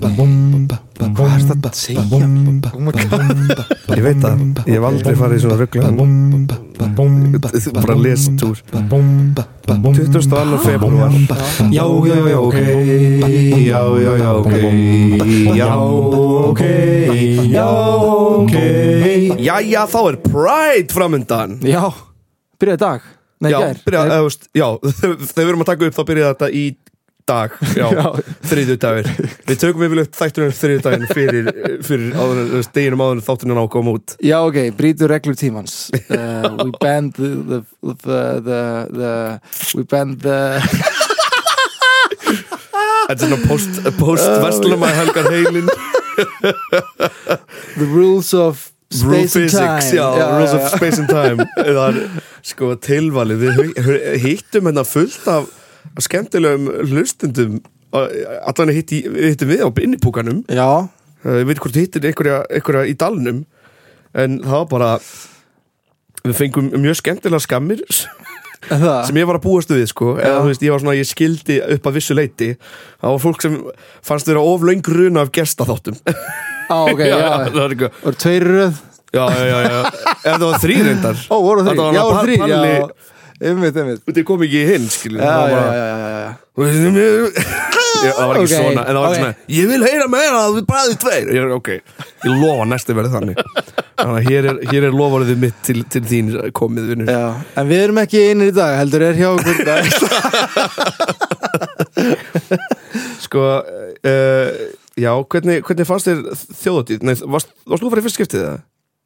Hvað er þetta að segja? Oh my god Ég veit það, ég hef aldrei farið í svona rugglan Bara lest úr 20. annar februar Já, já, já, ok Já, já, já, ok Já, ok Já, ok Jæja, þá er Pride framundan Já, byrjaði í dag Nei, Já, eh, gær byrja, Nei, eða, þú veist, já þegar við erum að taka upp þá byrjaði þetta í dag, já, Já. þriðju dagur við tökum yfirleitt þættunum þriðju daginn fyrir, fyrir áður, þú veist, deginum áður en þáttunum á að koma út Já, ok, brýtur reglur tímans uh, We banned the, the, the, the, the We banned the Þetta er svona post, post vestlama helgar heilin The rules of Rule space and time physics, já, rules of space and time það er sko tilvalið við hu- hu- hittum hérna fullt af af skemmtilegum hlustendum Á- allan hitti, hittum við á innipúkanum Já, Uh, ég veit hvort þú hittir einhverja, einhverja í dalnum en það var bara við fengum mjög skemmtilega skammir sem en það ég var að búast við sko eða Já. þú veist, ég var svona, ég skildi upp að vissu leiti það var fólk sem fannst þeirra oflöng runa af gestaþáttum Á, ok, já, það var eitthvað Voru tveir í röð já, já, já, já, ef það var þrý reyndar Ó, voru þrý, Þetta var já, bara voru þrý Palli- Já, einmitt, einmitt þetta kom ekki í hinn skilur Já, það já, var bara já, já, já, já. Já, það var ekki Ok, svona, en það var ok. okay. svona Ég vil heyra meira að við bræðum tveir ég, Ok, ég lofa næstu verið þannig Þannig að hér er, hér er lofarðið mitt til, til þín komið vinnur Já, en við erum ekki einir í dag, heldur er hjá okkur í dag Sko, uh, já, hvernig, hvernig fannst þér þjóðatíð? Nei, varst, varst þú að fara í fyrst skiptið það?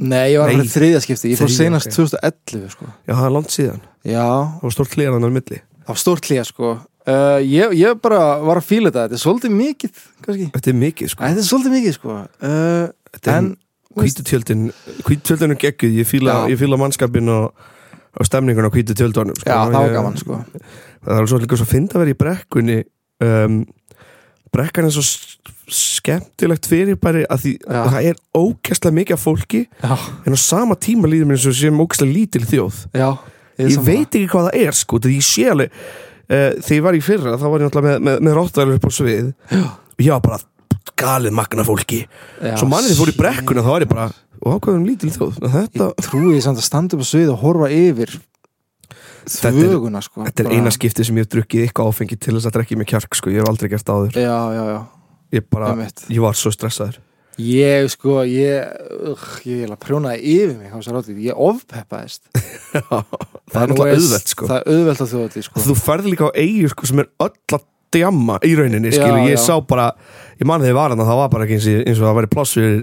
Nei, ég var Nei. að fara í þriðja skipti, ég fór Þriðja, senast ok. 2011 sko. Já, það er langt síðan Já, Það var stórt hlýjan annar milli það var stórt hlýja sko. uh, ég, ég bara var að fíla þetta, þetta er svolítið mikið kannski. Æ, Þetta er mikið, sko Þetta er svolítið mikið sko. uh, Þetta er En, hvítutjöldin Hvítutjöldinu gegguð, ég fíla, Já. ég fíla mannskapin og, og stemningun á hvítutjöldunum sko. já, það var Ég- gaman sko. það er svo líka svo fynd að vera í brekkunni um, brekkan er svo s- skemmtilegt fyrirbæri að því Já. að það er ókesslega mikið af fólki Já, en á sama tíma líður mér eins og sem ókesslega lítil þjóð já ég, sammála. veit ekki hvað það er sko því ég sé alveg uh, þegar ég var í fyrra þá var ég náttúrulega með, með, með rottælur upp á svið Já. og ég var bara galið magna fólki Já, svo mannið fór í shit. brekkuna þá var ég bara og ákveðum um lítil þjóð þetta, Ég trúi samt að standa upp á svið og horfa yfir þetta er, þvöguna sko. þetta er Bara- eina skipti sem ég hef drukkið eitthvað áfengi til þess að drekki mig kjark sko, ég hef aldrei gert það áður Já, já, já, ég bara, einmitt ég var svo stressaður Ég sko, ég, uh, ég eiginlega prjónaði yfir mig á þessar hátíð, ég ofpeppaðist það er náttúrulega auðvelt sko Það er auðvelt á þjóðatíð sko þú ferð líka á eigu sko sem er öll að djamma í rauninni Já, skilur, ég já. sá bara, ég man þegar ég var hann það var bara ekki eins og, eins og það væri pláss fyrir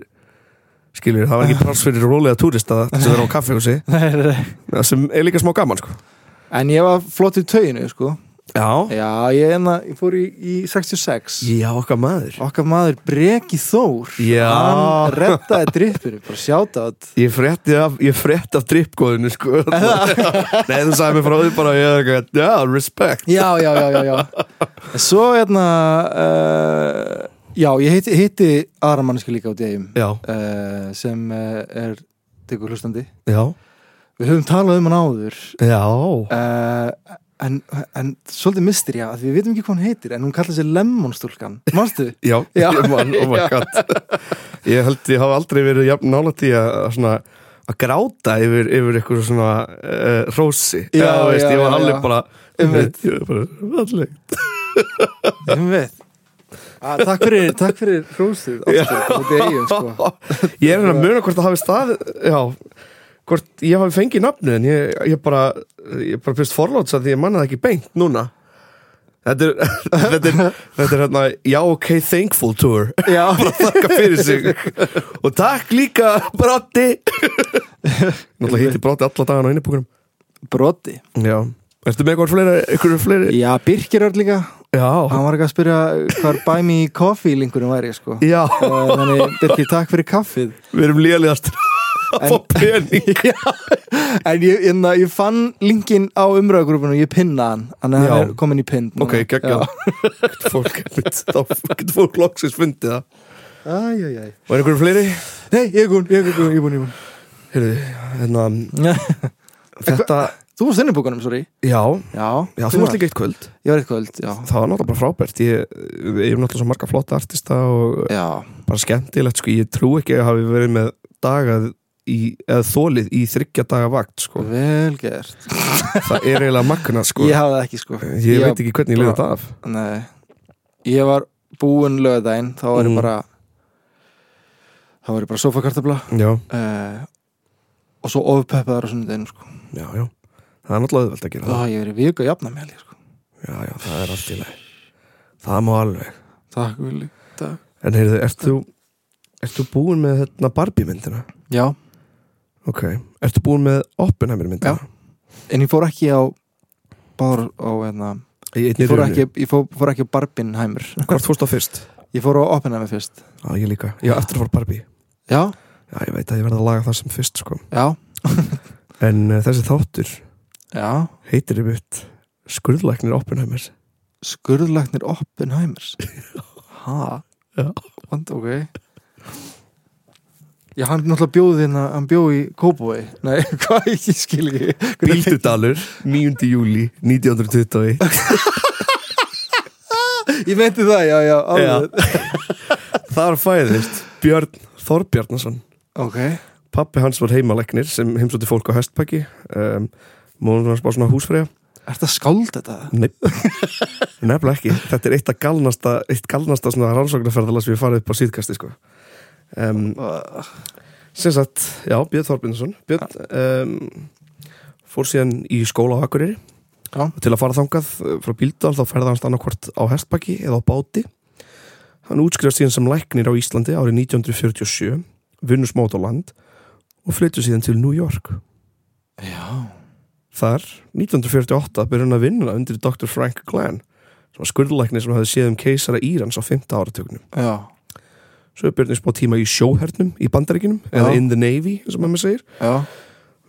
skilur, það var ekki pláss fyrir rólega túrista sem er á kaffehúsi Nei, nei, nei. sem er líka smá gaman sko En ég var flott í tauginu sko já, Já, ég, enna, ég fór í, í 66 já okkar maður Okkar maður Breki Þór Já. Hann rettaði drippinu, bara sjáta át ég frétti af, ég frétti af drippgóðinu sko nei þú sagði mér frá því bara ég, er eitthvað, já, respect Já, já, já, já, já En Svo hérna uh, Já, ég hitti, hitti aðra manneski líka á degum já, uh, sem uh, er tegur hlustandi já, Við höfum talað um hann áður já uh, en, en svolítið mistir já, að við vitum ekki hvað hún heitir en hún kallar sér Lemonstúlkan, manstu? Já, Já. ég man, oh my god Ég held ég hafa aldrei verið jafn nála því að að svona að gráta yfir, yfir eitthvað svona uh, rósi Já, Eða, þú veist, já, ég var já, alveg já. bara Einmitt. ég var bara alveg Ég veit að, Ah, Takk fyrir, takk fyrir hrósið aftur út í eigum sko Ég er hérna að muna hvort það hafi stað já, hvort ég hafi fengið nafnu en ég, ég bara ég bara byrst forláts að því ég manna það ekki beint núna Þetta er, þetta er, þetta er hérna, já ok, thankful tour Já, þakka fyrir sig og takk líka Brotti Náttúrulega hitti Brotti alla dagana á innibúkunum broti Já Ertu með eitthvað fleira, eitthvað fleiri Já, Birkir Örn líka Já Hann var ekki að spyrja hvar buy me coffee linkurinn væri sko Já, Eh, Þannig, Birkir, takk fyrir kaffið við erum lélegast að fá En- pening Já, en ég, ég, ég fann linkin á umröðagrúfinu og ég pinna hann Þannig að Já. hann er komin í pinn núna. Ok, geggja Fólk, einmitt, þá getur fólk loksins fundið það Já. Æ, æ, æ. Og er eitthvað fleiri? Nei, ég er búinn, ég er búinn, ég er búinn, ég er búinn Heyrðu, hérna, þetta Þú varst inn í búkunum, sorry Já, Já, já þú varst líka Sko. eitt kvöld Ég var eitt kvöld, já Það var náttúrulega bara frábært Ég, ég hef náttúrulega svo marga flotta artista og Já, bara skemmtilegt sko. Ég trú ekki að hafi verið með dagað í, eða þólið í þryggja daga vakt sko. vel gert Það er eiginlega magna sko. Ég hafði það ekki, sko Ég, veit ekki hvernig ég leiði þetta af ekki Nei Ég var búinn lögðaðinn Þá var ég Mm. bara Þá var ég bara sofakartabla Já, uh, Og svo ofpeppaðar á sunnudeginu, sko já, já Það er náttúrulega auðvelt að gera það Það ég verið viku að jafna með, sko Já, já, það er allt í leið Það má alveg Takk, Vili Takk En heyrðu, ert þú, ert þú búin með hérna Barbie myndina? Já, Ok, ertu búin með Oppenheimer myndina? en ég fór ekki á Bár á, hérna Ég, Ég fór ekki, ég fór, fór ekki á Barbinheimer Hvort fórst á fyrst? Ég fór á Oppenheimer fyrst Já, ég líka Já, eftir að fór Barbie Já, Já, ég veit að ég verði að laga það sem fyrst sko já, En uh, þessi þáttur já heitir yfir Skurðlæknir Oppenheimer Skurðlagnir Oppenheimers Ha? Já. Vand, ok Já, hann náttúrulega bjóði hérna, hann bjóði í Kópói Nei, hvað ekki, skil ekki Hvernig- Bíldudalur, 9. júli 1921 Ég meinti það, já, já, alveg Þar fæðist Björn Þorbjarnason Ok, Pappi hans var heimaleknir sem heimsótti fólk á höstpæki um, Mónum hans bara svona húsfreyja er þetta skáld þetta? Nei, nefnilega ekki Þetta er eitt að galnasta, eitt galnasta svona rannsóknarferðala sem ég farið upp á síðkasti sko. um, Uh, Sem sagt, já, Björn Þorbjörnsson Björn um, fór síðan í skóla á Akureyri Já. Og til að fara þangað uh, frá Bíldal þá ferði hans annarkvort á hestbaki eða á báti Hann útskrifast síðan sem læknir á Íslandi árið 1947 vinnur smót á land og flyttu síðan til New York Já, Þar, 1948, byrjar hann að vinna undir Dr. Frank Glenn sem var skurðlækni sem hafði séð um keisara Írans á 5. áratögnum. já, Svo er byrjun í spá tíma í sjóhernum í bandaríkinum, eða Já. in the navy, eins og maður segir. já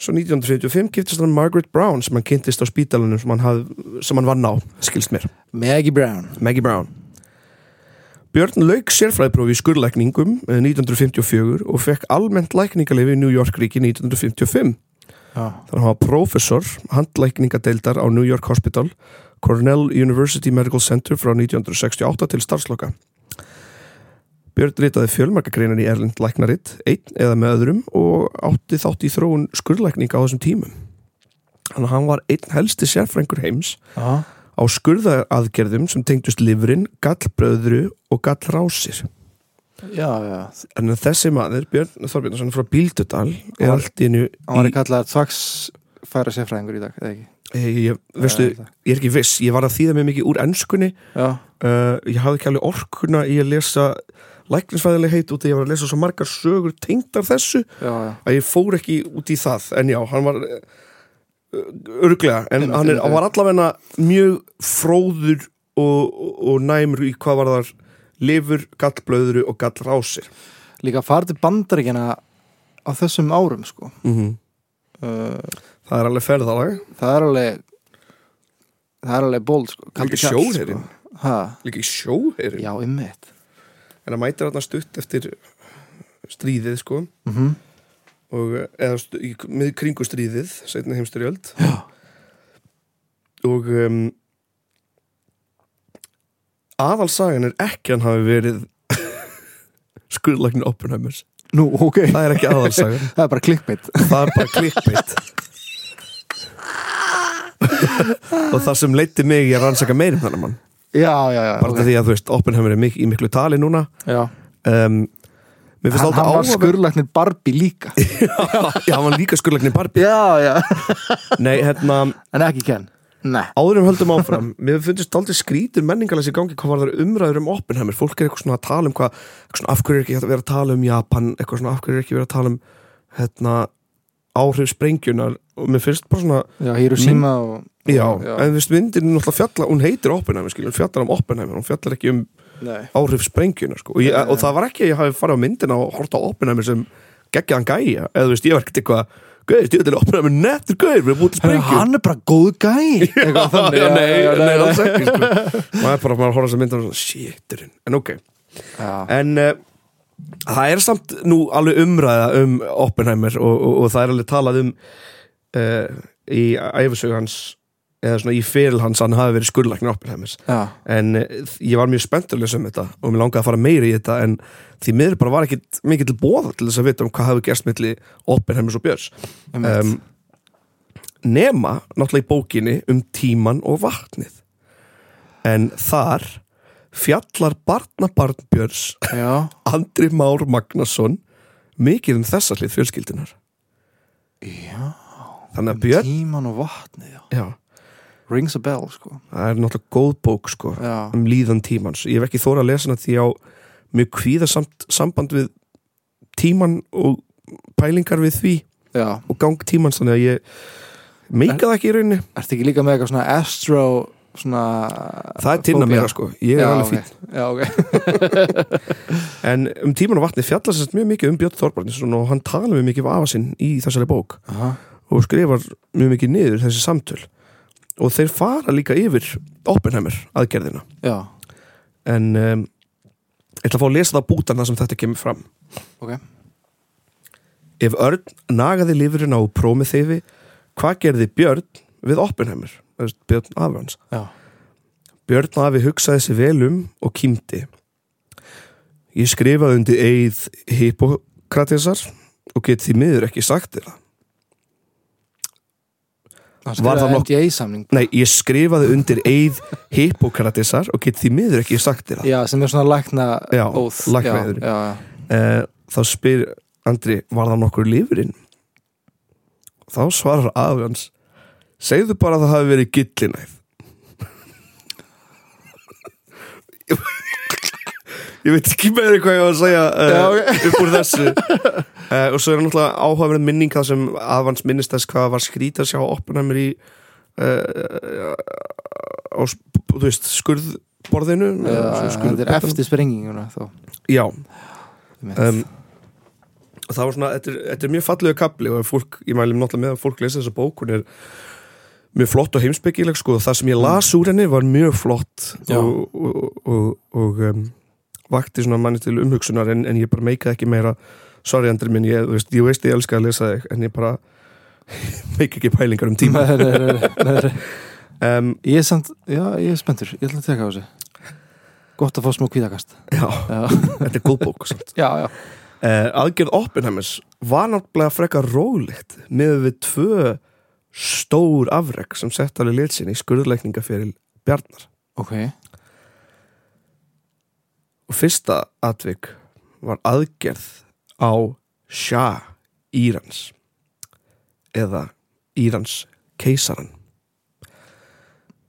Svo 1955 giftist hann Margaret Brown sem hann kynntist á spítalunum sem hann, hafði, sem hann vann á, skilst mér. Maggie Brown Maggie Brown. Björn lauk sérfræðiprófi í skurðlækningum eh, 1954 og fekk almennt lækningalefi í New York ríki 1955. Já, Þannig að hann var prófessor handlækningadeildar á New York Hospital Cornell University Medical Center frá 1968 til starfsloka. Björn ritaði fjölmarkagreinar í Erlend læknaritt, einn eða með öðrum og átti þátt í þróun skurðlækninga á þessum tímum. Þannig að hann var einn helsti sérfrængur heims já, á skurðaðgerðum sem tengdust lifrin, gallbröðru og gallrásir. já, já En þessi maður, Björn Þorbjörnsson frá Bíldudal, Hann er var- allt í hennu Hann var í... ekki kallað tvaks færa sérfræðingur í dag, eða ekki? Ég, ég, veistu, Eða- ég er ekki viss, ég var að þýða mjög mikið úr ennskunni Já, uh, ég hafði ekki alveg orkuna í að lesa læknisfæðileg heit út af ég var að lesa svo margar sögur tengdar þessu já, já að ég fór ekki út í það en já, hann var uh, örglega, en hann Einmitt, er, einmitt. hann var allavegna mjög fróður og, og, og næmur í hvað var þar lifur, gallblöðru og gallrásir líka að fara til bandaríkina á þessum árum sko mm -hmm. uh, það er alveg ferðalag það er alveg það er alveg ból sko kaldur Líka kall, sjóherinn. sko. Ha, líka í sjóherinn, já, ymmit en það mætir þarna stutt eftir stríðið sko mm -hmm. og eða stu- í, með kringustríðið setna heimsturjöld Já. og um, aðalsagan er ekki að hann hafi verið skurðlæknir Oppenheimers nú, ok, það er ekki aðalsagan, það er bara klikkbeitt það er bara klikkbeitt og það sem leiddi mig í að rannsaka meir um þennan mann já, já, já, bara okay. því að þú veist, Oppenheimer er mik í miklu tali núna já. um, mér finnst hann, alltaf hann var áhugaverð- skurðlæknir Barbie líka já, hann var líka skurðlæknir Barbie já, já, nei, hérna en ekki Ken nei, áðurum höldum áfram, mér finnst aldrei skrítur menningalega sér gangi hvað var þar umræður um Oppenheimer, fólk er eitthvað svona að tala um hvað eitthvað svona, af hverju er ekki hægt að vera að tala um Japan eitthvað svona af hverju er ekki verið að tala um hérna, áhrif sprengjunar og mér finnst bara svona, já, Hiroshima og já, já. en við myndir náttúrulega fjalla, hún heitir Oppenheimer skilur, hún fjallar um Oppenheimer, hún fjallar ekki um nei, áhrif sprengjunar sko. og, ég, og það var ekki að ég hafi farið á myndina og horta á Oppenheimer sem geggjaðan gæja eða þú veist, ég var ekkert eitthvað Gauðir, ég vil Oppenheimer nettur gauðir, við erum búin til sprengjum hann er bara góð gæ Já, já, nei, já, nei, alls ekki sko. maður er bara maður horfður sem myndar shiturinn, en ok já, en uh, það er samt nú alveg umræða um Oppenheimer og, og, og það er alveg talað um uh, í æfisögu hans eða svona í fyrir hans, hann hafi verið skurðlæknir Oppenheimers já, en eh, ég var mjög spenntur að lesa um þetta og mér langaði að fara meira í þetta en því miður bara var ekkit mikið til bóða til þess að vita um hvað hafi gerst milli Oppenheimers og Björns um, um, nema náttúrulega í bókinni um tíman og vatnið en þar fjallar barnabarn Björns já Andri Már Magnason mikið um þessa hlið fjölskyldunar já, þannig að Björn tíman og vatnið já. já, rings a bell sko það er náttúrulega góð bók sko já, um líðan tímans ég hef ekki þóra að lesa hana því á mjög kvíðasamt samband við tíman og pælingar við því já, og gang tímans þannig að ég meikaði ekki í rauninni ertu ekki líka með eitthvað svona astro svona það er tilna fóbía? meira sko, ég er já, alveg fín ok. já, ok, en um tíman og vatni fjallar sérst mjög mikið um Björn Þorbarninsson og hann talar mjög mikið af afa sinn í þessari bók Aha, og skrifar mjög mikið niður þessi samtöl og þeir fara líka yfir Oppenheimer aðgerðina já, en um, ég ætla að fá að lesa það bútan þar sem þetta kemur fram ok Ef Örn nagaði lifurinn á Promeþeifi, hvað gerði Björn við Oppenheimer? Þú veist, Björn afi hans. já, Björn afi hugsaði sér vel um og kýmdi. Ég skrifaði undir eigið Hippokratesar og get því miður ekki sagt þér það. Var Hann það skrifaði nokk- NDA-samning Nei, ég skrifaði undir eigið Hippokratesar og get því miður ekki sagt þér það. Já, sem er svona lækna Já, óð læknaeiður. Já, já, Eh, þá spyr Andri, var það nokkur lifurinn? Þá svarar afi hans, segðu bara að það hafi verið gillinæð. ég veit ekki meira hvað ég var að segja uh, Já, ok. upp úr þessu. Uh, og svo er náttúrulega áhugaverð minning það sem afi hans minnist þess hvað var skrýta að sjá opnæmur í uh, á, sp- þú veist, skurðborðinu. já, eða svona já, Þetta er skurðbrettunum. eftir sprenginguna þó Já, einmitt. um, og það var svona, þetta er, þetta er mjög fallegu kapli og ef fólk, ég mælum náttúrulega með að fólk lesa þessa bók, hún er mjög flott og heimspekileg sko, það sem ég las úr henni var mjög flott Mm. Já. og, og, og, og um, vakti svona manni til umhugsunar en, en ég bara meikaði ekki meira sorry Andri minn, ég, þú veist, ég veist ég elska að lesa þig en ég bara meika ekki pælingar um tíma Nei, nei, nei, nei, nei. um, Ég er samt, já, ég er spenntur Ég ætla að teka á þessu Gott að fá smá kvíðakast Já, Já, þetta er góð bók samt já, já, Uh, aðgerð Oppenheimers var náttúrulega frekar rólegt með við tvö stór afreg sem sett alveg litsin í skurðleikningaferil Bjarnar ok og fyrsta atvik var aðgerð á Shah Írans eða Írans keisaran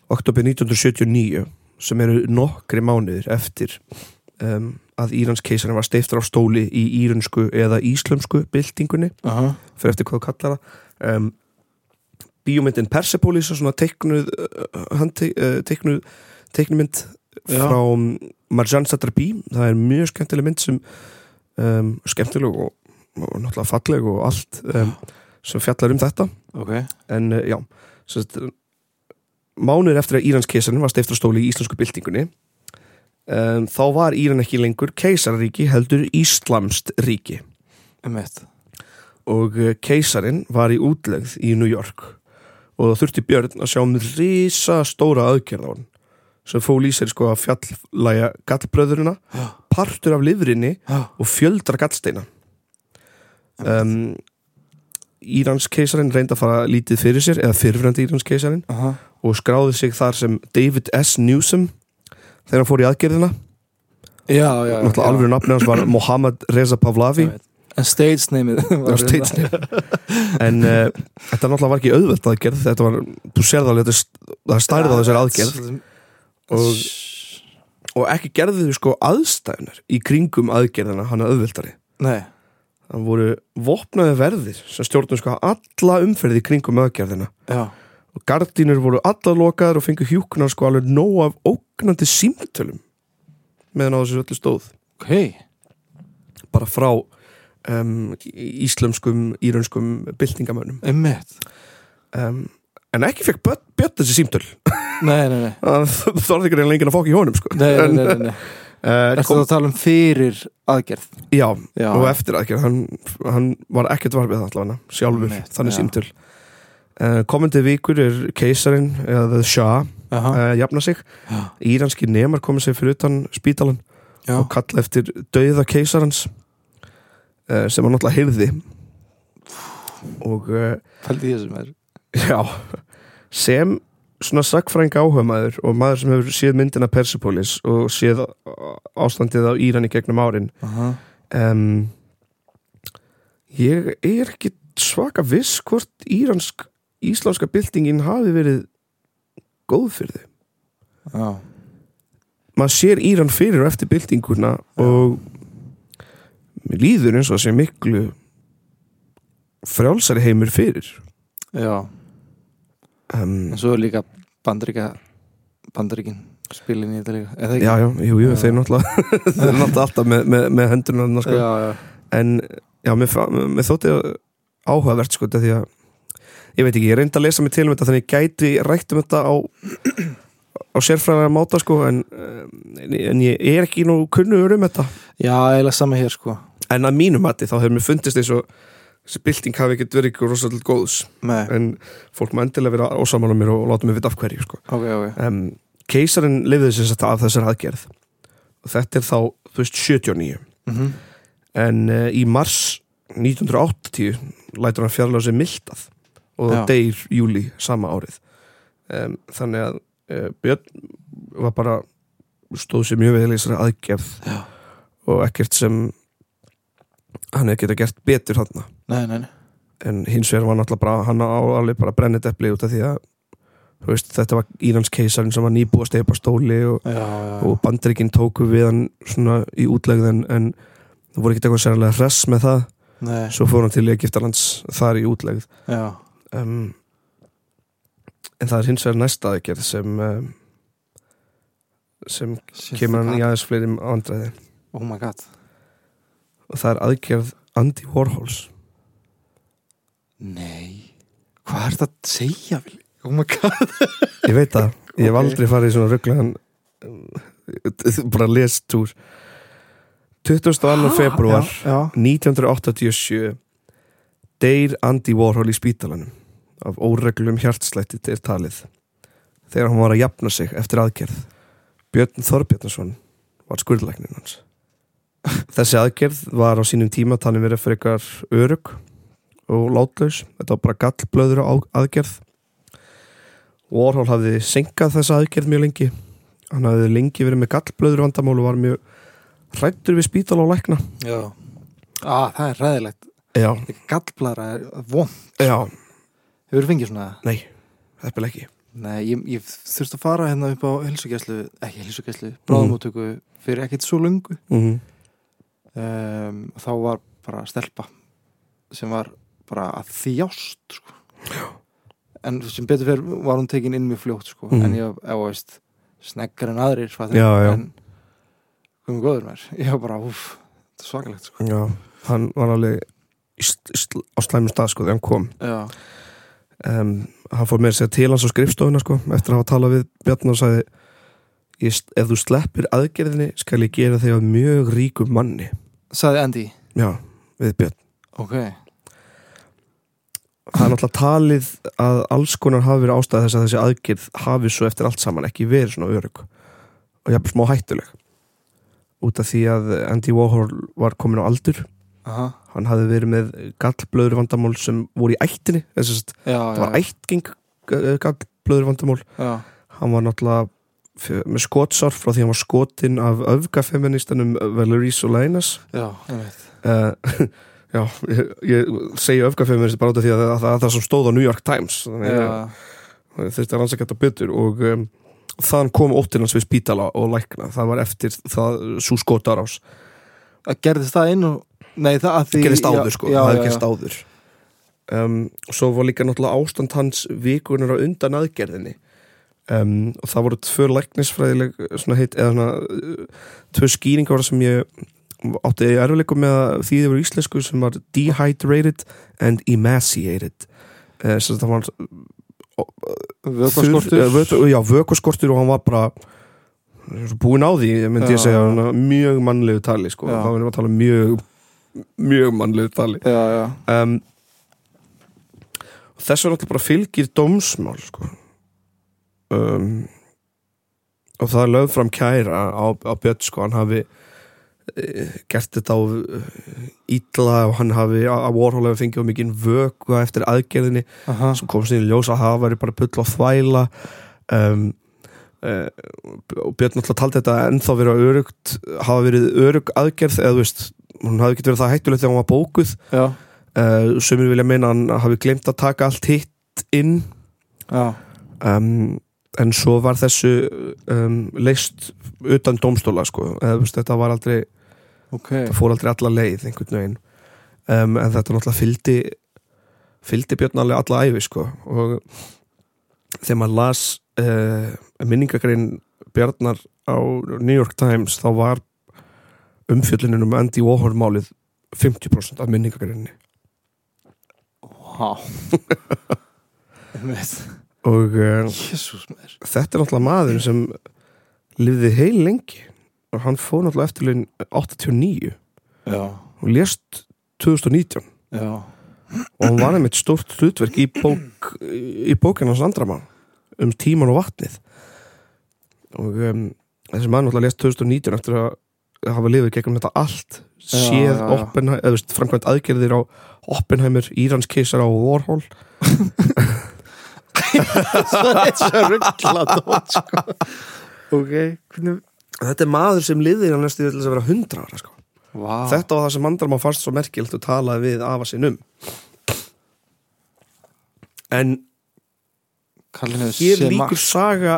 oktober 1979 sem eru nokkri mánuðir eftir um, að Írans keisaran var steiftur á stóli í írensku eða íslömsku byltingunni Aha, fyrir eftir hvað þú kallar það um, bíómyndin Persepolis og svona teiknuð uh, handi, uh, teiknuð teiknumynd Já. frá um, Marjan Satrapi það er mjög skemmtileg mynd sem um, skemmtileg og, og náttúrulega falleg og allt um, sem fjallar um þetta ok en uh, já sest, mánuður eftir að Írans keisarinn var steiftur á stóli í íslensku byltingunni um, þá var Íran ekki lengur keisarríki heldur íslamst ríki Emmett og eh, keisarin var í útlegð í New York og það þurfti Björn að sjá um risa stóra aðgerð á hann sem fól í sér sko að fjallæja gallbröðurina, partur af livrinni Já, og fjöldra gallsteina um, Írans keisarin reyndi að fara lítið fyrir sér eða fyrirfrendi Írans keisarin aha, og skráði sig þar sem David S. Newsom þegar hann fór í aðgerðina já, já náttúrulega já. alveg nafni hans var Mohamed Reza Pahlavi Einmitt. En hérna. stage name-ið Já, steitsnið En uh, þetta náttúrulega var ekki auðvelt aðgerð Þetta var, þú sér það alveg þetta er st- Það er stærð á þessari aðgerð og, og ekki gerðu þau sko aðstæðunar Í kringum aðgerðina hann að auðveltari Nei, Það voru vopnaði verðir Sem stjórnum sko alla umferði í kringum aðgerðina já, Og gardínur voru alla lokaðar Og fengu hjúknar sko alveg nóg af ógnandi símtölum Meðan á þessu öllu stóð ok Bara frá um, íslömskum, írönskum byltingamönnum Emmett um, en ekki fekk bjött, bjött þessi símtöl Nei, nei, nei það þorði ekki reyna lengið að fá ekki í honum sko. Nei, nei, nei, nei, nei. Uh, Ertu kom, að tala um fyrir aðgerð? já, Já, og eftir aðgerð hann, hann var ekkert varfið allavega sjálfur, Einmitt, þannig já. símtöl uh, komandi vikur er keisarin eða the Shah Aha, uh, jafna sig Já. íranski nemar komið sér fyrir utan spítalan já, og kalla eftir dauða keisarans uh, sem hann náttúrulega heyrði og uh, fældi ég þessum er já sem svona sakfræng áhugamaður og maður sem hefur séð myndina Persepolis og séð á- ástandið á Íran í gegnum árin Aha, um, ég er ekki svaka viss hvort íransk íslenska byltingin hafi verið góð fyrir þau já, maður sér Íran fyrir og eftir byltinguna og mér líður eins og það sé miklu frjálsari heimur fyrir já um, En svo er líka bandaríka Bandaríkin spilin í þetta líka Er það ekki? já, já, jú, jú, Já. þeir náttúrulega þeir náttúrulega alltaf með, með, með hendurna þarna, sko. já, já, en já, mér, fa- mér þótti áhugavert sko, þetta því að ég veit ekki, ég reyndi að lesa mig til um þetta þannig ég gæti rætt um þetta á á sérfræðan máta sko en, um, en, en ég er ekki nú kunnugur um þetta já, eiginlega sama hér sko en að mínum mati þá hefur mér fundist eins og þessi bylting hafi ekkert verið ykkur rosalega góðs Nei, en fólk má endilega vera ósamála mér og láta mér vita af hverju sko. ok, ok um, keisarin lifði sem sagt af þessar aðgerð og þetta er þá, þú veist, 79 mm en uh, í mars 1980 lætur hann fjarlæða sér mildað og Já. það deyr júli sama árið um, þannig að uh, Björn var bara stóð sér mjög veðileg þessari aðgerð Já. og ekkert sem hann hefði geta gert betur þarna Nei, nei, nei en hins vegar var náttúrulega bara hann á alveg bara brennið epli út af því að þú veist, þetta var Írans keisarinn sem var nýbúið að steipa stóli og Já, já, já og bandaríkinn tóku við hann svona í útlegðin en það voru ekkert eitthvað sérlega hress með það Nei, svo fór hann til Egiptalands þar í útlegð já um, en það er hins vegar næsta aðgerð sem um, sem Shit, kemur hann hvað- í aðeins fleiri andræði Oh my god og það er aðgerð Andy Warhols Nei Hvað er þetta að segja, Vili? Oh my god ég veit það, ég hef Ok. aldrei farið í svona rugglegan um, bara lestúr 22. februar Já, 1987 deyr Andy Warhol í spítalanum af óreglum hjartslætti til talið þegar hann var að jafna sig eftir aðgerð Björn Þorbjörnason var skurðlæknin hans þessi aðgerð var á sínum tíma talin verið fyrir ykkar örug og látlaus, þetta var bara gallblöður á aðgerð Warhol hafði senkað þessa aðgerð mjög lengi hann hafði lengi verið með gallblöður vandamál og var mjög hrættur við spítala og lækna já ah, Það er ræðilegt Já, Gallblara er von já, Hefur fengið svona nei, hefðilega ekki Nei, ég, ég þurfti að fara hérna upp á helsugæslu Ekki helsugæslu, bráðumóttöku Fyrir ekkit svo lungu mm um, Þá var bara stelpa Sem var bara að þjást sko. En sem betur fyrir var hún tekin inn mjög fljótt sko. Mhm. En ég, ef veist Sneggar en aðrir fattar Já, já. En komum góður mér Ég var bara, úff, þetta er svakalegt sko. Já, hann var alveg í sl- sl- á slæmum stað sko þegar hann kom Já, um, Hann fór með að segja til hans á skrifstofuna sko eftir að hafa talað við Bjarn og sagði "Ég st- Ef þú sleppir aðgerðinni skal ég gera þig að mjög ríkum manni sagði Andy Já, við Björn Ok, Það er náttúrulega talið að alls konar hafi verið ástæða þess að þessi aðgerð hafi svo eftir allt saman ekki verið svona örug og jafnvel smá hættuleg út af því að Andy Warhol var komin á aldur aha hann hafði verið með gallblöður vandamál sem voru í ættinni þess að Já, það já, var ættgeng gallblöður vandamál já, hann var náttúrulega f- með skotsár frá því hann var skotinn af öfgafeministanum Valerie Solainas já, einmitt uh, já, ég, ég segi öfgafeminist bara út af því að það, það, það sem stóð á New York Times þannig að Já, ég þurfti að rannsaka þetta betur og um, þann kom óttinn hans við spítala og lækna, það var eftir það, svo skotarás, að gerðist það inn og Nei, það að því það gerist já, áður sko já, það já, gerist áður um, svo var líka náttúrulega ástand hans vikunar á undan aðgerðinni um, og það voru tvö læknisfræðileg svona heit, eða svona uh, tvö skýringar sem ég átti erfileikum með að því þið voru íslensku sem var dehydrated and emaciated eh, sem það var Vökvaskortur Þurr- eh, vötu- já, vökoskortur og hann var bara búin á því, myndi ég Já. segja svona mjög mannlegu tali, sko Já. þá erum við að tala um mjög mjög mannlegu tali Já, já, um, og þessu er alltaf bara fylgir dómsmál sko. um, og það er lögð fram kæra á, á Björn sko, hann hafi e, gert þetta á ítla og hann hafi á Warhol hefur fengið of mikinn vöku eftir aðgerðinni Aha. sem kom síðan í ljós að það væri bara bull og þvæla um, uh, og Björn náttúrulega taldi þetta ennþá verið örugt hafa verið örug aðgerð eða þú veist, hún hafi ekki verið það hættulegt þegar hún var bókuð Já, uh, sömur vilja meina að hann hafi glemt að taka allt hitt inn já, um, en svo var þessu um, leist utan dómstóla sko, eða þú veist, þetta var aldrei ok það fór aldrei alla leið einhvern veginn um, en þetta náttúrulega fylgdi fylgdi Björn alveg alla æfi sko og þegar maður las uh, minningagrein Bjarnar á New York Times þá var umfjöllunin um Andy Warhol málið 50% af minningagreinni Vá Einmitt. og uh, Jesús maður þetta er náttúrulega maður sem lifði heil lengi og hann fór náttúrulega eftirlun 89 Já, og lést 2019 já, og hann var einmitt stórt hlutverk í, bók, í bókinn hans Andramann um tíman og vatnið og um, þessi mann náttúrulega lést 2019 eftir að hafa lifið gegnum þetta allt séð já, já. Oppenheimer, eða veist, framkvæmt aðgerðir á Oppenheimer, Írans keisar á Warhol Það er svo rugglað dót, sko. Ok, hvernig þetta er maður sem liðir hann næstu til þess að vera 100 ára sko. Vá, þetta var það sem Andramann fannst svo merkilegt og talaði við afa sinn um en kallin hefur hér séð líkur margt. saga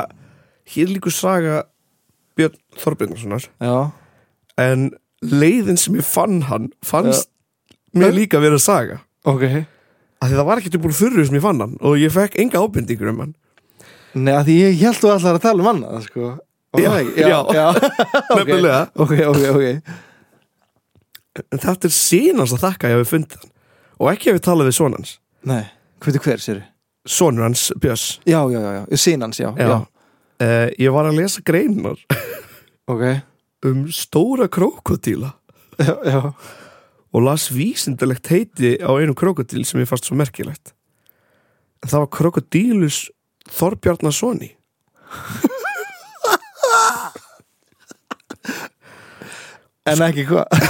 hér líkur saga Björn Þorbjörnarssonar Já, en leiðin sem ég fann hann fannst mér líka verið að saga ok af því það var ekkert upp úr þurru sem ég fann hann og ég fekk enga ábendingur um hann Nei, að því ég held þú allar að tala um annað, sko Var Já, það ekki? já. ok. nefnilega, Ok, ok, ok en þetta er sínast að þakka að ég hafi fundið hann og ekki hafi talað við son hans Nei, hvernig hver sér sonur hans Björns Já, já, já, já, sínans, já, já. Eh, ég var að lesa greinar Ok, um stóra krokodíla já, já og las vísindalegt heiti á einum krokodil sem ég fannst svo merkilegt en það var krokodílus Þorbjarnasoni En ekki hvað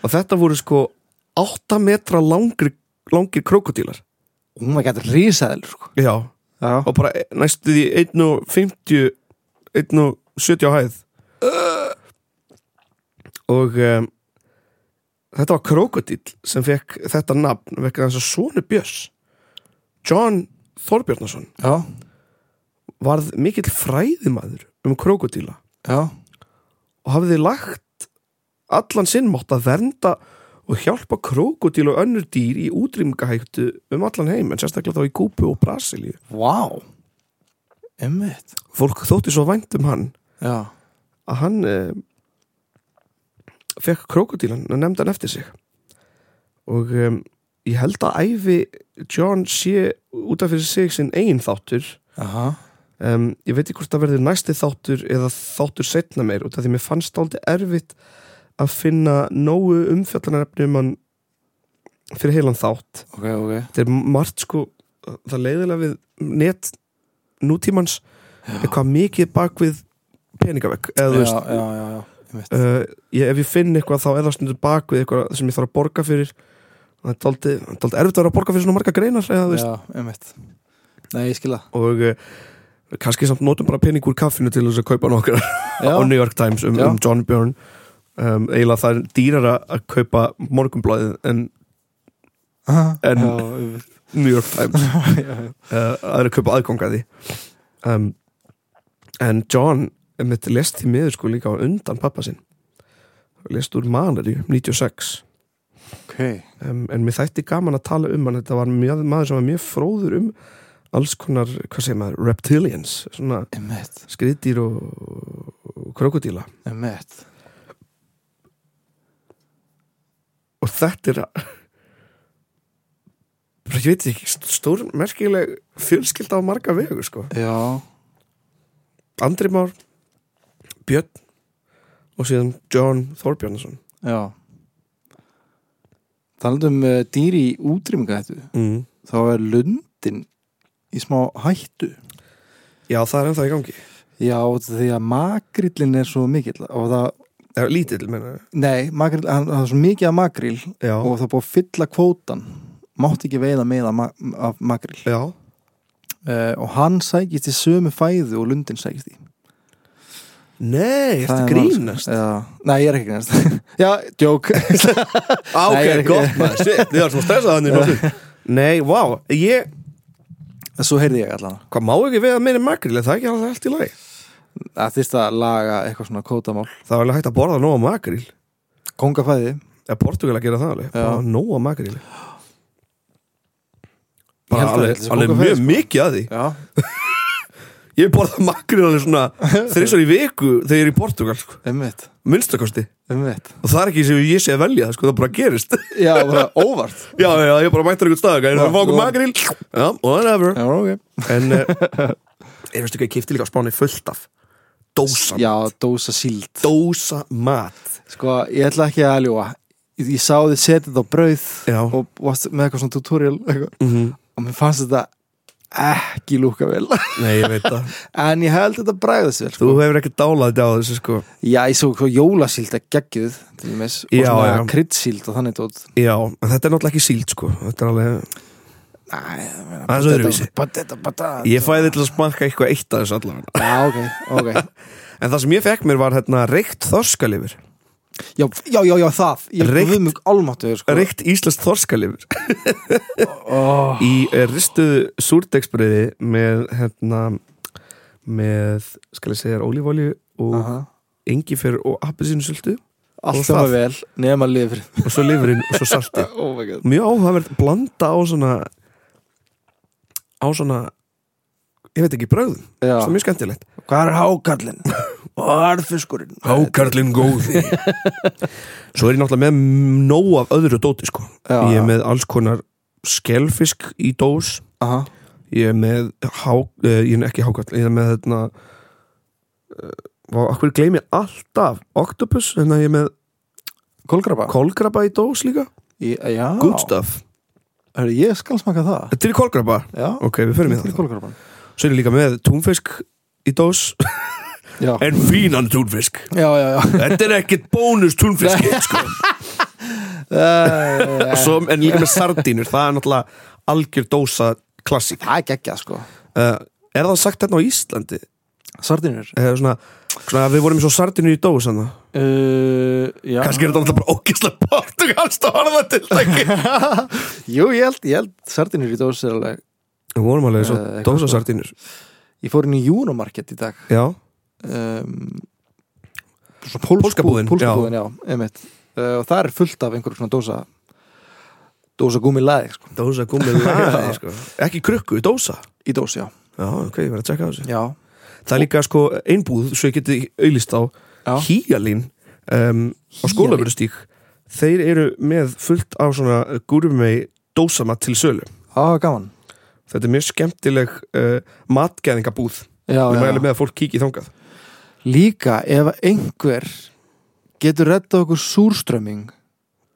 og þetta voru sko 8 metra langri, langir krokodílar Hún var gætið rísaðil, sko já, Já, og bara næstu því 1.50 1.70 á hæð og um, þetta var krokodíl sem fekk þetta nafn vekka þess að sonu Björns John Þorbjarnason já, varð mikill fræðimaður um krokodíla já og hafði lagt allan sinn mátt að vernda og hjálpa krókudíl og önnur dýr í útrýmingahættu um allan heim en sérstaklega þá í Kúpu og Brasilíu Vá Einmitt fólk þótti svo vænt um hann Já, að hann eh, fekk krókudílan og nefndi hann eftir sig og eh, ég held að æfi John sé út af fyrir sig sinn eigin þáttur aha um, ég veit ekki hvort það verður næsti þáttur eða þáttur setna meir út af því mér fannst áldi erfitt að finna nógu umfjallanarefni um hann fyrir heilan þátt Ok, ok þetta er margt sko það leiðilega við net nútímans er hvað mikið bak við peningavegg eða þú já, veist já, já, já, einmitt uh, ég, ef ég finn eitthvað þá er það stundum bak við eitthvað sem ég þarf að borga fyrir það er dálítið dálítið erfitt að vera að borga fyrir svona marga greinar eða þú veist Já, einmitt Nei, ég skil það og uh, kannski samt notum bara pening úr kaffinu til þess að kaupa nokkra Já, á New York Times um, Já. um John Byrne um, eiginlega það er dýrara að kaupa morgunblæðið en aha, en- já, einmitt. New York Times já, já. uh, að er að kaupa aðganga því um, en John mitt lest því miður sko líka á undan pappa sinn lest úr Malari 96 Ok, um, en mér þætti gaman að tala um hann þetta var mjög, maður sem var mjög fróður um alls konar, hvað segir maður, reptilians svona einmitt, skriðdýr og, og krokodíla einmitt og þetta er að bara ég veit ekki stór merkileg fjölskylda á marga vegu sko. Já, Andri Már Björn og síðan John Þorbjörnsson já Talandum uh, dýr í útrýminga þetta mm. þá er lundin í smá hættu Já, það er ennþá í gangi Já, því að makrillin er svo mikill og það, Það er lítill, menna nei, makrill, hann, það er svo mikið af makrill Já, og það er búið að fylla kvótan mátt ekki veiða meða ma af makrill já, uh, og hann sækist í sömu fæðu og lundin sækist í nei, Það eftir er grínast málsins. Já, nei, ég er ekki grínast Já, djók Á, Nei, ég Ok, er ekki- gott maður, shit, þið var svo stressað hann í nóttu Nei, vá, ég, Svo heyrði ég allan hvað má ekki við að meina makril er Það er ekki alveg allt í lagi Það þýrst að laga eitthvað svona kótamál Það var alveg hægt að borða nóga makril Kongafæði Eða Portugal að gera það alveg, Já. bara nóga makril Ég held Bara að alveg, þetta sé alveg kóngafæði, mjög sko. mikið að því Já, Ég borða makril alveg svona þrissar í viku þegar ég er í Portugal, sko, umvitt, minnstakosti umvitt Og það er ekki sem ég sé að velja, sko, það bara gerist Já, bara óvart Já, já, ég bara mættur einhvern stað, það Já, er já. fákum makril Já, whatever Já, ok En, uh, ég veistu hvað ég kipti líka á spáni fullt af Dósa Já, dósa síld Dósa mat Sko, ég ætla ekki að ljúa Ég ég sá þið setja þetta á brauð Já. og varst með eitthvað svona tutorial eitthvað. mm og mér fannst þetta ekki lúka vel Nei, ég veit það en ég held þetta bræðast vel Þú sko. hefur ekki dálað þetta á þessu sko Já, ég svo hvað jólasíld að geggjuð til dæmis, og Já, já. svona kryddsíld og þannig tótt Já, en þetta er náttúrulega ekki síld sko Þetta er alveg Nei, það Aðeins meina, potato, öðruvísi. potato, potato. Ég fæði til að smakka eitthvað eitt af þessu allavega Já, ok, ok En það sem ég fekk mér var hérna reykt þorskalifur Já, já, já, já það Ég Reykt- er mjög almáttuður sko Reykt íslenskt þorskalifur oh. Í eh, ristuðu súrdegsbröði með hérna með, skal ég segja, ólífólju og uh Aha. og appelsínusöldu Allt Og sem það. var vel, nema lifur og svo lifurinn og svo salti Oh my god mjög áhugaverð blanda á svona á svona ég veit ekki bröðum, Já. það er mjög skemmtilegt Hvað er hákallin? Og harfiskurinn Hákarlinn góði Svo er ég náttúrulega með nóg af öðru dóti sko. Já, ég já. er með alls konar skelfisk í dós Aha. ég er með há, eh, ég er ekki hákarl ég er með hérna eh, og okkur gleymi ég alltaf octopus, þannig að ég er með Kolgrapa? kolgraba í dós líka Í- Já good stuff, Hörru, ég skal smaka það til kolgraba Já ok, við förum í það Til kolgrapan Svo er ég líka með túnfisk í dós Já En fínan túnfisk Já, já, já Þetta er ekkit bónus túnfisk sko. Eh, Svo, En líka með sardínur Það er náttúrulega algjör dósa klassík Það er geggja sko uh, Er það sagt hérna á Íslandi? Sardinur Uh, svona, svona að við vorum svo sardínur í dós hana. uh, Já Kannski er þetta náttúrulega bara ógislega portugalst að horfa til Jú, ég held, ég held Sardinur í dós er alveg Við vorum alveg svo Eh, eitthvað dósa sko. sardínur Ég fór inn í Júnumarkett í dag Já, um, Svo pólsku- Pólska búðin, Pólska búðin, já, einmitt uh, Og það er fullt af einhverjum svona dósa Dósa gúmi laði, sko dósa gummið Já. sko. Ekki krukku, dósa Í dós, já Já, ok, ég verið að tjekka á þessu Já, Það er líka sko einbúð svo ég geti auðlist á Já. Híalín um, á Hýjalín? skólaverustík Þeir eru með fullt á svona gurmei dósamat til sölu það var gaman Þetta er mjög skemmtileg uh, matgæðingabúð já, Við já. mælum með að fólk kíkja í þangað Líka ef einhver getur reddað okkur súrströmming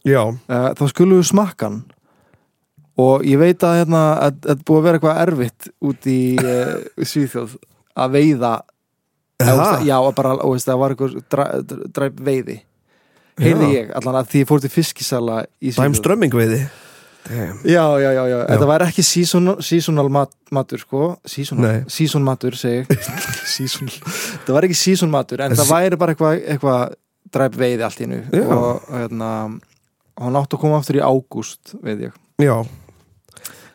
Já, uh, þá skulum við smakkan og ég veit að hérna að þetta er búið að vera eitthvað erfitt út í uh, Svíþjóð að veiða eða, þú veist, já. já, að bara, og veist, það var einhver dræp dra, dra, veiði heyrði Já. ég allan að því ég fór til fiskisala í Dæm Svíþjóð strömmingveiði Damn. já, já, já, já, þetta Já. var ekki seasonal, seasonal mat, matur sko seasonal, Nei. season matur segi ég seasonal, það var ekki season matur en En það se- væri bara eitthvað eitthva dræp veiði allt í nu Já. og hérna hann átti að koma aftur í ágúst veit ég Já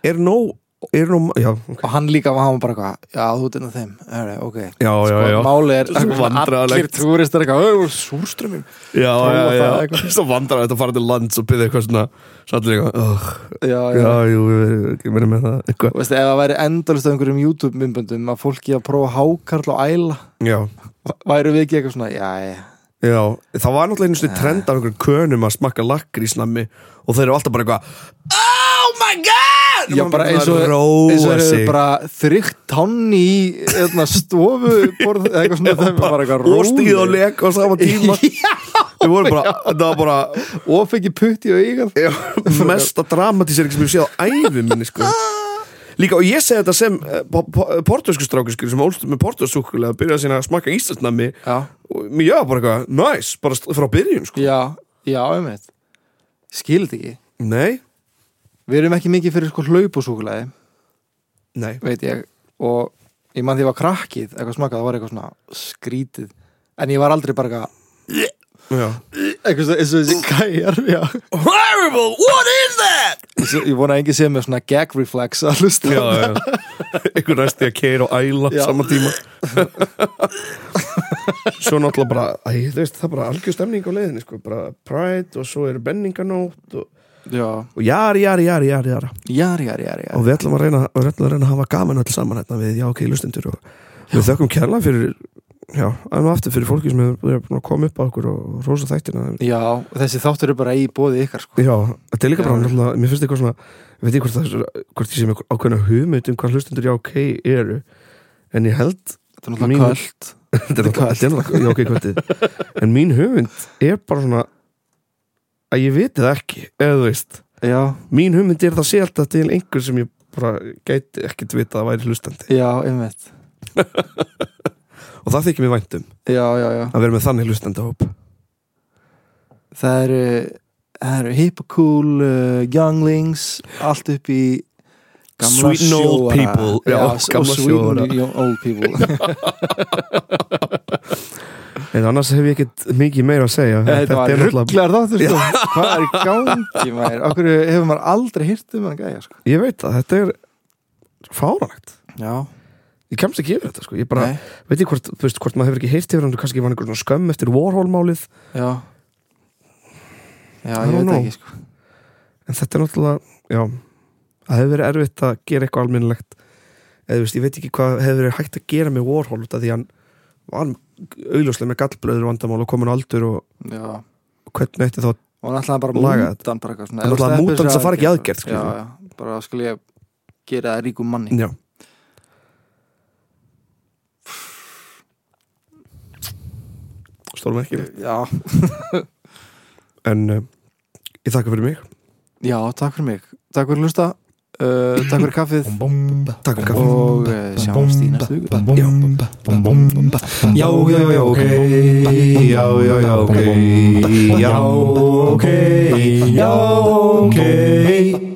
Er nóg, er nóg Já, ok og hann líka var hann var bara eitthvað já þú ert einn af þeim Heri, ok Já, já, Sko, já máli er Svo vandræðalegt. allir túristar eitthvað súrströmming Já, já, prófa það já eitthvað. Svo vandrar þetta að fara til lands og byrja eitthvað svona Sannlega eitthvað "Ugh, já já, Já, jú, við verðum með það Þú eitthvað Veist, ef það væri endalist af einhverjum YouTube myndböndum að fólki að prófa hákarl og æla Já, væru við ekki eitthvað svona já, já. já, það var náttúrulega einu svona trend af einhverjum könum að smakka lakkrísnammi og þeir eru alltaf bara eitthvað Oh my god! Já, Og maður bara eins og- svona róa eins og sig. eru bara þrygt tanni í hérna, stofu borð, eitthvað svona Já, þeim er bara eitthvað og stíð og róleg. lek á sama tíma já, Við vorum bara, þetta var bara og fengi putt í augað mesta dramatísering sem ég sé á æfi minni sko Líka og ég segi þetta sem eh, po- po- portugalsku strákur skilur sem ólst með portugalsúkulega byrjaði sína að smakka íslensnami já, og mér ég var bara eitthvað, næs, bara st- frá byrjun sko já, já, um veit skilit ekki Nei, við erum ekki mikið fyrir sko hlaup og súkulæði nei, veit ég og ég mann því ég var krakkið eitthvað smakað, það var eitthvað svona skrítið en ég var aldrei bara eitthvað já eitthvað svona- eins og þessi gæjar já. Horrible, what is that? Eins og- ég vona að enginn sé með svona gag reflex að hlusta Já, já, einhver næst ég að keira og æla Já. saman tíma Svo náttúrulega bara, æ, þú veist, það er bara algjör stemning á leiðinni sko, bara Pride og svo eru benninganót og, já, og jari, jari, jari, jari, jari jari, jari, jari, og jari. við ætlum að reyna, við ætlum að, reyna að hafa gaman öll saman hérna við já ok, lustendur og við þökkum kærlega fyrir já, enn og aftur fyrir fólki sem hefur er búin að koma upp á okkur og rosa þættina sko. já, og þessi þáttur er bara í bóði ykkar sko. já, þetta er líka bara, Já. náttúrulega, mér finnst eitthvað svona ég veit ekki hvort, það er- hvort ég sé með ákveðna hugmynd um hvað lustendur já ok eru en ég held þetta er náttúrulega Mínu- kvöld þetta er Þetta er náttúrulega- þetta er náttúrulega já ok kvöldið en mín hugmynd er bara svona að ég viti það ekki, eða þú veist já, mín hugmynd er að það sé alltaf til einhver sem ég bara gæti ekkert vita að væri hlustandi já, einmitt og það þykir mér væntum já, já, já, að vera með þannig hlustandi hóp það eru það eru hip og cool uh, younglings, allt upp í gamla Sweet and old sjóara. people. já, Já, og gamla sweet and sjóara. old people en annars hef ég ekkert mikið meira að segja Þetta var er náttúrulega, rugglar þáttur sko Hvað er í gangi maður? Okkur hefur maður aldrei hýrt um hann gæja sko ég veit að þetta er fáralegt Já, ég kemst ekki yfir þetta sko, ég bara nei, veit ég hvort, þú veist, hvort maður hefur ekki heyrt yfir hann kannski var einhver svona skömm eftir Warhol-málið já I Já, ég don't veit know. ekki sko en þetta er náttúrulega, já það hefur verið erfitt að gera eitthvað almennilegt eða þú veist, ég veit ekki hvað hefur verið hægt að gera með Warhol út af því að hann var augljóslega með gallblöður vandamál og komin á aldur og, Já, og hvernig ætti þá og hann ætlaði bara að Laga múta hann bara eitthvað svona Hann Ef þú ætlaði að sleppir múta hann þessari svo fari ekki í aðgerð, Já, skilur. já, bara skal ég gera það ríkum manni já, stólum ekki Já, en uh, ég þakka fyrir mig já, takk fyrir mig Takk fyrir hlusta uh, Takk fyrir kaffið Takk fyrir kaffið. Og eh, sjáumst í næstu viku. Já. Já, já, já, ok Já, já, já, ok Já, ok Já, ok